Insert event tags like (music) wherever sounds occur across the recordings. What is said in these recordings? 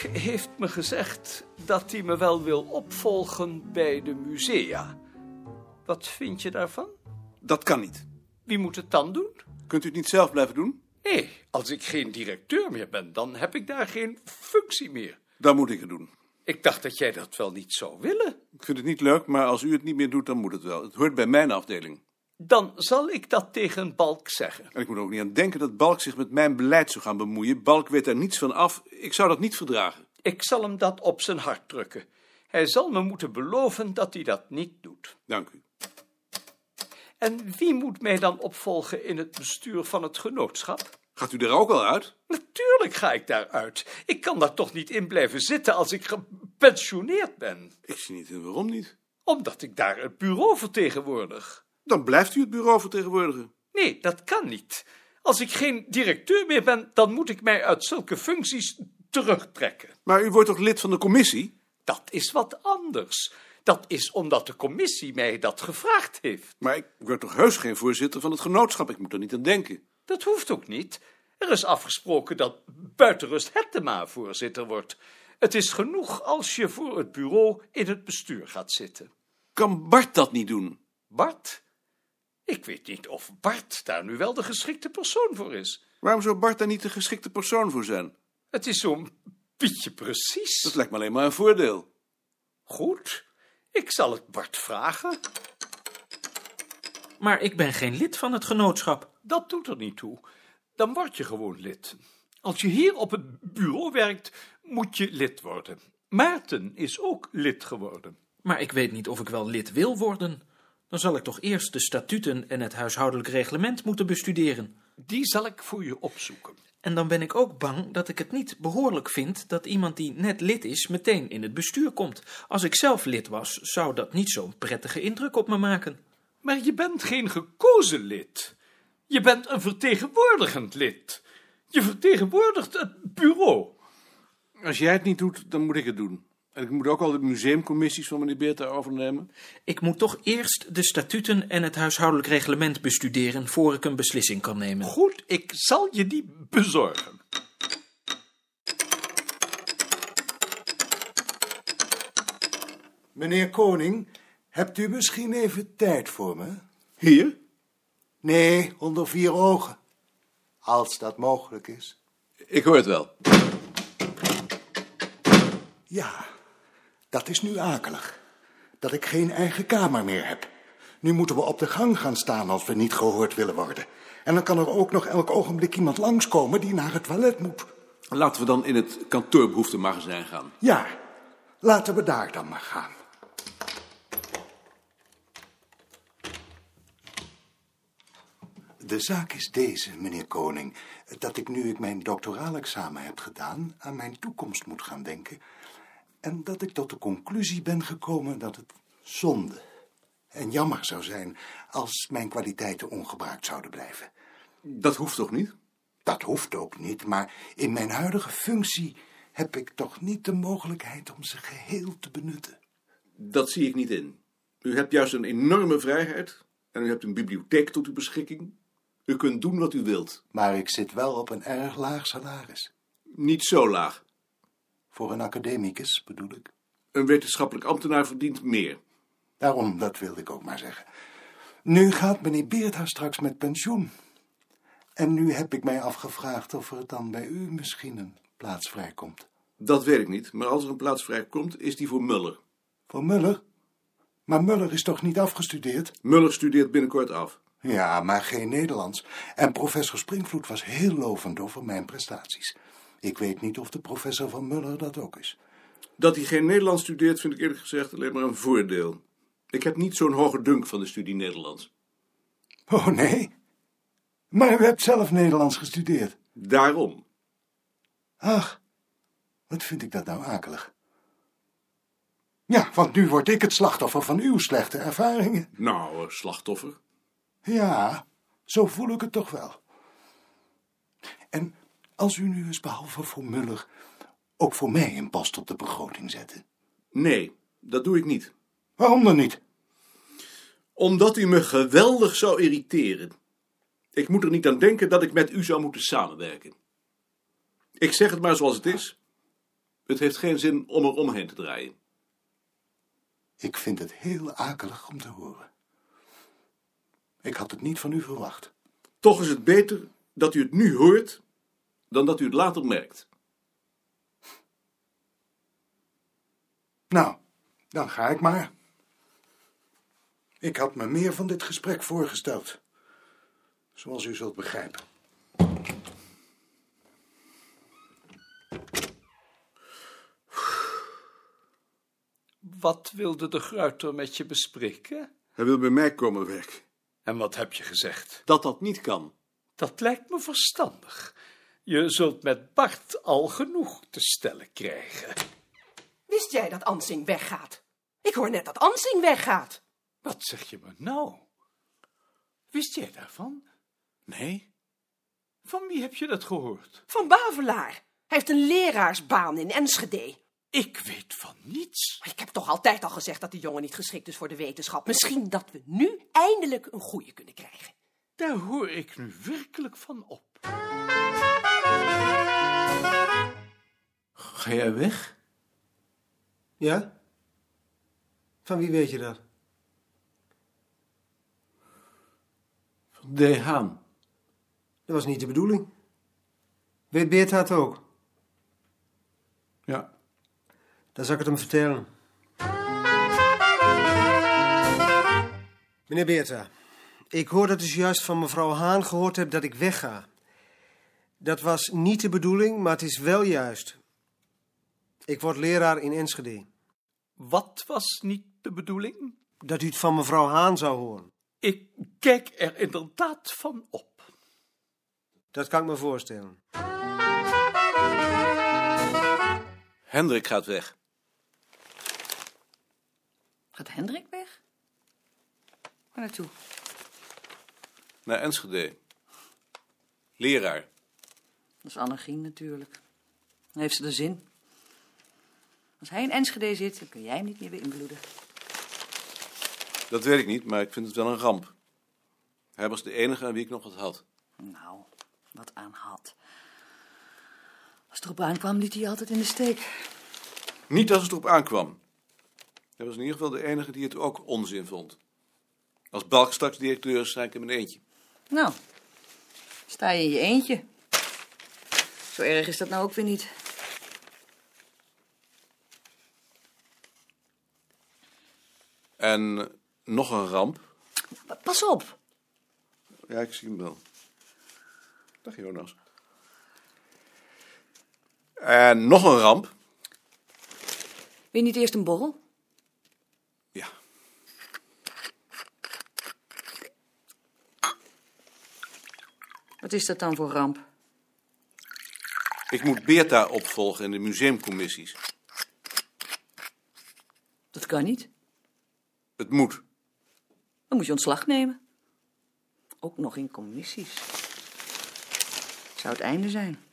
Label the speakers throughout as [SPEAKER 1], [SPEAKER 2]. [SPEAKER 1] heeft me gezegd dat hij me wel wil opvolgen bij de musea. Wat vind je daarvan?
[SPEAKER 2] Dat kan niet.
[SPEAKER 1] Wie moet het dan doen?
[SPEAKER 2] Kunt u het niet zelf blijven doen?
[SPEAKER 1] Nee, als ik geen directeur meer ben, dan heb ik daar geen functie meer.
[SPEAKER 2] Dan moet ik het doen.
[SPEAKER 1] Ik dacht dat jij dat wel niet zou willen.
[SPEAKER 2] Ik vind het niet leuk, maar als u het niet meer doet, dan moet het wel. Het hoort bij mijn afdeling.
[SPEAKER 1] Dan zal ik dat tegen Balk zeggen.
[SPEAKER 2] En ik moet er ook niet aan denken dat Balk zich met mijn beleid zou gaan bemoeien. Balk weet daar niets van af. Ik zou dat niet verdragen.
[SPEAKER 1] Ik zal hem dat op zijn hart drukken. Hij zal me moeten beloven dat hij dat niet doet.
[SPEAKER 2] Dank u.
[SPEAKER 1] En wie moet mij dan opvolgen in het bestuur van het genootschap?
[SPEAKER 2] Gaat u daar ook al uit?
[SPEAKER 1] Natuurlijk ga ik daaruit. Ik kan daar toch niet in blijven zitten als ik gepensioneerd ben,
[SPEAKER 2] Ik zie niet in waarom niet.
[SPEAKER 1] omdat ik daar het bureau vertegenwoordig.
[SPEAKER 2] Dan blijft u het bureau vertegenwoordigen.
[SPEAKER 1] Nee, dat kan niet. Als ik geen directeur meer ben, dan moet ik mij uit zulke functies terugtrekken.
[SPEAKER 2] Maar u wordt toch lid van de commissie?
[SPEAKER 1] Dat is wat anders. Dat is omdat de commissie mij dat gevraagd heeft.
[SPEAKER 2] Maar ik word toch heus geen voorzitter van het genootschap. Ik moet er niet aan denken.
[SPEAKER 1] Dat hoeft ook niet. Er is afgesproken dat Buitenrust Hettema voorzitter wordt. Het is genoeg als je voor het bureau in het bestuur gaat zitten.
[SPEAKER 2] Kan Bart dat niet doen?
[SPEAKER 1] Bart? Ik weet niet of Bart daar nu wel de geschikte persoon voor is.
[SPEAKER 2] Waarom zou Bart daar niet de geschikte persoon voor zijn?
[SPEAKER 1] Het is zo'n pietje precies.
[SPEAKER 2] Dat lijkt me alleen maar een voordeel.
[SPEAKER 1] Goed, ik zal het Bart vragen.
[SPEAKER 3] Maar ik ben geen lid van het genootschap.
[SPEAKER 1] Dat doet er niet toe. Dan word je gewoon lid. Als je hier op het bureau werkt, moet je lid worden. Maarten is ook lid geworden.
[SPEAKER 3] Maar ik weet niet of ik wel lid wil worden. Dan zal ik toch eerst de statuten en het huishoudelijk reglement moeten bestuderen.
[SPEAKER 1] Die zal ik voor je opzoeken.
[SPEAKER 3] En dan ben ik ook bang dat ik het niet behoorlijk vind dat iemand die net lid is meteen in het bestuur komt. Als ik zelf lid was, zou dat niet zo'n prettige indruk op me maken.
[SPEAKER 1] Maar je bent geen gekozen lid. Je bent een vertegenwoordigend lid. Je vertegenwoordigt het bureau.
[SPEAKER 2] Als jij het niet doet, dan moet ik het doen. En ik moet ook al de museumcommissies van meneer Beerta overnemen.
[SPEAKER 3] Ik moet toch eerst de statuten en het huishoudelijk reglement bestuderen voor ik een beslissing kan nemen.
[SPEAKER 1] Goed, ik zal je die bezorgen.
[SPEAKER 4] Meneer Koning, hebt u misschien even tijd voor me?
[SPEAKER 2] Hier?
[SPEAKER 4] Nee, onder vier ogen. Als dat mogelijk is.
[SPEAKER 2] Ik hoor het wel.
[SPEAKER 4] Ja, dat is nu akelig. Dat ik geen eigen kamer meer heb. Nu moeten we op de gang gaan staan als we niet gehoord willen worden. En dan kan er ook nog elk ogenblik iemand langskomen die naar het toilet moet.
[SPEAKER 2] Laten we dan in het kantoorbehoeftemagazijn gaan.
[SPEAKER 4] Ja, laten we daar dan maar gaan. De zaak is deze, meneer Koning, dat ik nu ik mijn doctoraal examen heb gedaan, aan mijn toekomst moet gaan denken. En dat ik tot de conclusie ben gekomen dat het zonde en jammer zou zijn als mijn kwaliteiten ongebruikt zouden blijven.
[SPEAKER 2] Dat hoeft toch niet?
[SPEAKER 4] Dat hoeft ook niet, maar in mijn huidige functie heb ik toch niet de mogelijkheid om ze geheel te benutten.
[SPEAKER 2] Dat zie ik niet in. U hebt juist een enorme vrijheid en u hebt een bibliotheek tot uw beschikking. U kunt doen wat u wilt.
[SPEAKER 4] Maar ik zit wel op een erg laag salaris.
[SPEAKER 2] Niet zo laag.
[SPEAKER 4] Voor een academicus bedoel ik.
[SPEAKER 2] Een wetenschappelijk ambtenaar verdient meer.
[SPEAKER 4] Daarom, dat wilde ik ook maar zeggen. Nu gaat meneer Beerta straks met pensioen. En nu heb ik mij afgevraagd of er dan bij u misschien een plaats vrijkomt.
[SPEAKER 2] Dat weet ik niet, maar als er een plaats vrij komt, is die voor Muller.
[SPEAKER 4] Voor Muller? Maar Muller is toch niet afgestudeerd?
[SPEAKER 2] Muller studeert binnenkort af.
[SPEAKER 4] Ja, maar geen Nederlands. En professor Springvloed was heel lovend over mijn prestaties. Ik weet niet of de professor van Muller dat ook is.
[SPEAKER 2] Dat hij geen Nederlands studeert, vind ik eerlijk gezegd alleen maar een voordeel. Ik heb niet zo'n hoge dunk van de studie Nederlands.
[SPEAKER 4] Oh nee? Maar u hebt zelf Nederlands gestudeerd.
[SPEAKER 2] Daarom.
[SPEAKER 4] Ach, wat vind ik dat nou akelig. Ja, want nu word ik het slachtoffer van uw slechte ervaringen.
[SPEAKER 2] Nou, eh, slachtoffer.
[SPEAKER 4] Ja, zo voel ik het toch wel. En als u nu eens behalve voor Muller ook voor mij een post op de begroting zette.
[SPEAKER 2] Nee, dat doe ik niet.
[SPEAKER 4] Waarom dan niet?
[SPEAKER 2] Omdat u me geweldig zou irriteren. Ik moet er niet aan denken dat ik met u zou moeten samenwerken. Ik zeg het maar zoals het is. Het heeft geen zin om er omheen te draaien.
[SPEAKER 4] Ik vind het heel akelig om te horen. Ik had het niet van u verwacht.
[SPEAKER 2] Toch is het beter dat u het nu hoort dan dat u het later merkt.
[SPEAKER 4] Nou, dan ga ik maar. Ik had me meer van dit gesprek voorgesteld. Zoals u zult begrijpen.
[SPEAKER 1] Wat wilde de gruiter met je bespreken?
[SPEAKER 2] Hij wil bij mij komen werken.
[SPEAKER 1] En wat heb je gezegd?
[SPEAKER 2] Dat dat niet kan.
[SPEAKER 1] Dat lijkt me verstandig. Je zult met Bart al genoeg te stellen krijgen.
[SPEAKER 5] Wist jij dat Ansing weggaat? Ik hoor net dat Ansing weggaat.
[SPEAKER 1] Wat zeg je me nou? Wist jij daarvan?
[SPEAKER 2] Nee?
[SPEAKER 1] Van wie heb je dat gehoord?
[SPEAKER 5] Van Bavelaar. Hij heeft een leraarsbaan in Enschede.
[SPEAKER 1] Ik weet van niets.
[SPEAKER 5] Maar ik heb toch altijd al gezegd dat die jongen niet geschikt is voor de wetenschap. Misschien dat we nu eindelijk een goeie kunnen krijgen.
[SPEAKER 1] Daar hoor ik nu werkelijk van op.
[SPEAKER 3] Ga jij weg?
[SPEAKER 6] Ja? Van wie weet je dat?
[SPEAKER 3] Van De Haan.
[SPEAKER 6] Dat was niet de bedoeling. Weet Beert dat ook?
[SPEAKER 3] Ja.
[SPEAKER 6] Dan zal ik het hem vertellen. Meneer Beerta, ik hoor dat u juist van mevrouw Haan gehoord hebt dat ik wegga. Dat was niet de bedoeling, maar het is wel juist. Ik word leraar in Enschede.
[SPEAKER 1] Wat was niet de bedoeling?
[SPEAKER 6] Dat u het van mevrouw Haan zou horen.
[SPEAKER 1] Ik kijk er inderdaad van op.
[SPEAKER 6] Dat kan ik me voorstellen.
[SPEAKER 2] Hendrik gaat weg.
[SPEAKER 7] Gaat Hendrik weg? Waar naartoe?
[SPEAKER 2] Naar Enschede. Leraar.
[SPEAKER 7] Dat is Annegien natuurlijk. Dan heeft ze er zin. Als hij in Enschede zit, dan kun jij hem niet meer beïnvloeden.
[SPEAKER 2] Dat weet ik niet, maar ik vind het wel een ramp. Hij was de enige aan wie ik nog wat had.
[SPEAKER 7] Nou, wat aan had. Als het erop aankwam, liet hij je altijd in de steek.
[SPEAKER 2] Niet als het erop aankwam. Hij was in ieder geval de enige die het ook onzin vond. Als Balk straks directeur is, sta ik in mijn eentje.
[SPEAKER 7] Nou, sta je in je eentje. Zo erg is dat nou ook weer niet.
[SPEAKER 2] En eh, nog een ramp.
[SPEAKER 7] Pa- Pas op.
[SPEAKER 2] Ja, ik zie hem wel. Dag Jonas. En nog een ramp.
[SPEAKER 7] Wil je niet eerst een borrel?
[SPEAKER 2] Ja.
[SPEAKER 7] Wat is dat dan voor ramp?
[SPEAKER 2] Ik moet Beerta opvolgen in de museumcommissies.
[SPEAKER 7] Dat kan niet.
[SPEAKER 2] Het moet.
[SPEAKER 7] Dan moet je ontslag nemen. Ook nog in commissies. Zou het einde zijn.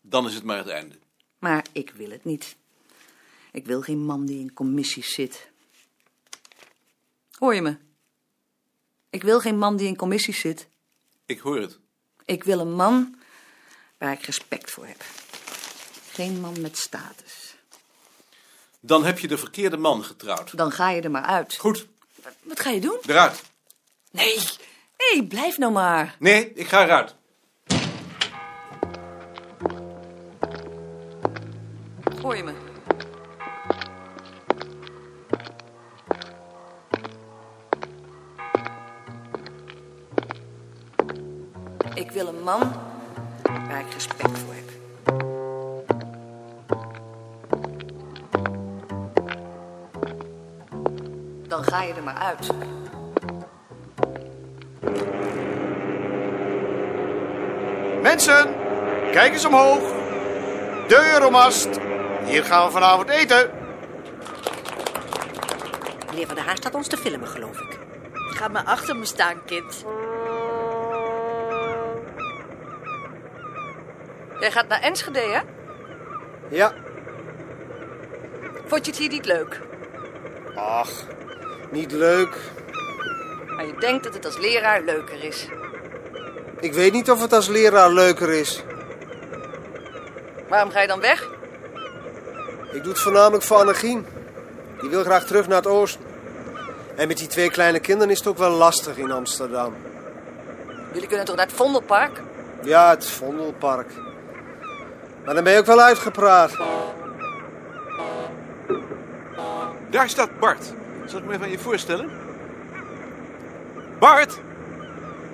[SPEAKER 2] Dan is het maar het einde.
[SPEAKER 7] Maar ik wil het niet. Ik wil geen man die in commissies zit. Hoor je me? Ik wil geen man die in commissies zit.
[SPEAKER 2] Ik hoor het.
[SPEAKER 7] Ik wil een man waar ik respect voor heb. Geen man met status.
[SPEAKER 2] Dan heb je de verkeerde man getrouwd.
[SPEAKER 7] Dan ga je er maar uit.
[SPEAKER 2] Goed,
[SPEAKER 7] Wat ga je doen?
[SPEAKER 2] eruit.
[SPEAKER 7] Nee, nee, blijf nou maar.
[SPEAKER 2] Nee, ik ga eruit.
[SPEAKER 7] Hoor je me? Ik wil een man waar ik respect voor heb. Dan ga je er maar uit.
[SPEAKER 8] Mensen, kijk eens omhoog. De Euromast. Hier gaan we vanavond eten.
[SPEAKER 9] Meneer Van der Haar staat ons te filmen, geloof ik.
[SPEAKER 10] Ga maar achter me staan, kind.
[SPEAKER 7] Jij gaat naar Enschede, hè?
[SPEAKER 6] Ja,
[SPEAKER 7] Vond je het hier niet leuk?
[SPEAKER 6] ach, niet leuk.
[SPEAKER 7] Maar je denkt dat het als leraar leuker is.
[SPEAKER 6] Ik weet niet of het als leraar leuker is.
[SPEAKER 7] Waarom ga je dan weg?
[SPEAKER 6] Ik doe het voornamelijk voor Annegien. Die wil graag terug naar het oosten. En met die twee kleine kinderen is het ook wel lastig in Amsterdam.
[SPEAKER 7] Jullie kunnen toch naar het Vondelpark?
[SPEAKER 6] Ja, het Vondelpark. Maar dan ben je ook wel uitgepraat.
[SPEAKER 2] Daar staat Bart. Zal ik me even aan je voorstellen? Bart!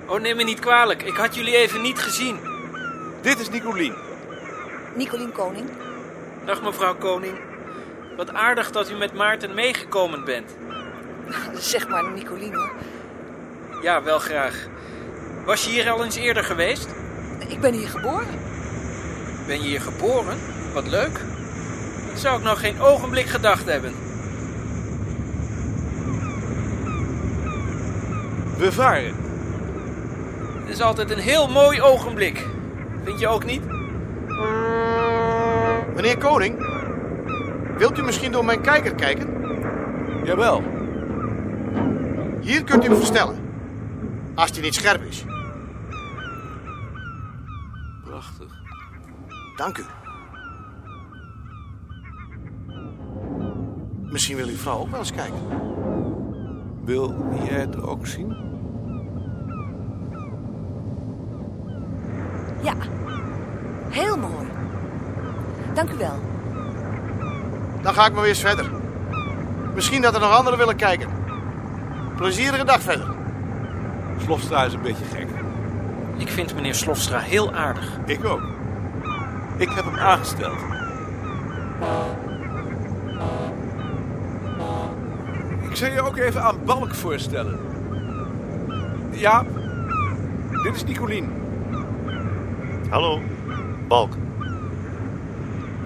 [SPEAKER 3] Oh, neem me niet kwalijk. Ik had jullie even niet gezien.
[SPEAKER 2] Dit is Nicolien.
[SPEAKER 7] Nicolien Koning.
[SPEAKER 3] Dag mevrouw Koning. Wat aardig dat u met Maarten meegekomen bent.
[SPEAKER 7] Zeg maar Nicolien hoor.
[SPEAKER 3] Ja, wel graag. Was je hier al eens eerder geweest?
[SPEAKER 7] Ik ben hier geboren.
[SPEAKER 3] Ben je hier geboren? Wat leuk. Dat zou ik nog geen ogenblik gedacht hebben.
[SPEAKER 2] We varen.
[SPEAKER 3] Het is altijd een heel mooi ogenblik. Vind je ook niet?
[SPEAKER 4] Meneer Koning, wilt u misschien door mijn kijker kijken?
[SPEAKER 2] Jawel.
[SPEAKER 4] Hier kunt u hem verstellen. Als die niet scherp is.
[SPEAKER 2] Prachtig.
[SPEAKER 4] Dank u. Misschien wil uw vrouw ook wel eens kijken.
[SPEAKER 2] Wil jij het ook zien?
[SPEAKER 7] Ja, heel mooi. Dank u wel.
[SPEAKER 4] Dan ga ik maar weer eens verder. Misschien dat er nog anderen willen kijken. Plezierige dag verder.
[SPEAKER 2] Slofstra is een beetje gek.
[SPEAKER 3] Ik vind meneer Slofstra heel aardig.
[SPEAKER 2] Ik ook. Ik heb hem aangesteld. Ik zal je ook even aan Balk voorstellen. Ja, dit is Nicolien.
[SPEAKER 11] Hallo, Balk.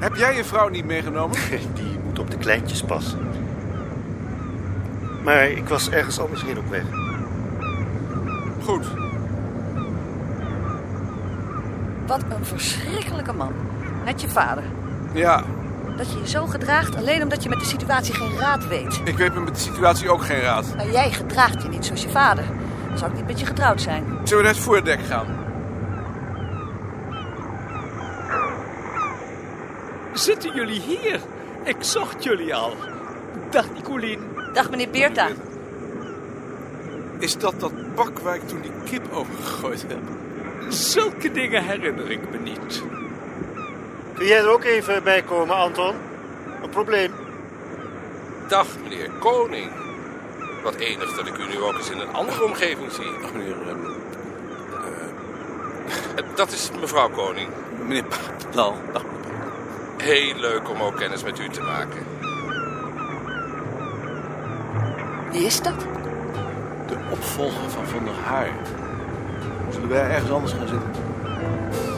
[SPEAKER 2] Heb jij je vrouw niet meegenomen?
[SPEAKER 11] Die moet op de kleintjes passen. Maar ik was ergens anders heen op weg.
[SPEAKER 2] Goed.
[SPEAKER 7] Wat een verschrikkelijke man. Net je vader.
[SPEAKER 2] Ja,
[SPEAKER 7] Dat je je zo gedraagt alleen omdat je met de situatie geen raad weet.
[SPEAKER 2] ik weet me met de situatie ook geen raad.
[SPEAKER 7] Maar Nou, jij gedraagt je niet zoals je vader. Dan zou ik niet met je getrouwd zijn.
[SPEAKER 2] Zullen we naar het voordek gaan?
[SPEAKER 1] Zitten jullie hier? Ik zocht jullie al. Dag Nicolien.
[SPEAKER 7] Dag meneer Beerta.
[SPEAKER 2] Is dat dat pak waar ik toen die kip overgegooid heb?
[SPEAKER 1] Zulke dingen herinner ik me niet.
[SPEAKER 11] Kun jij er ook even bij komen, Anton? Een probleem.
[SPEAKER 12] Dag, meneer Koning. Wat enig dat ik u nu ook eens in een andere omgeving zie. meneer... (laughs) dat is mevrouw Koning.
[SPEAKER 2] Meneer Paal.
[SPEAKER 12] Heel leuk om ook kennis met u te maken.
[SPEAKER 7] Wie is dat?
[SPEAKER 2] De opvolger van Van der Haar. Zullen wij ergens anders gaan zitten?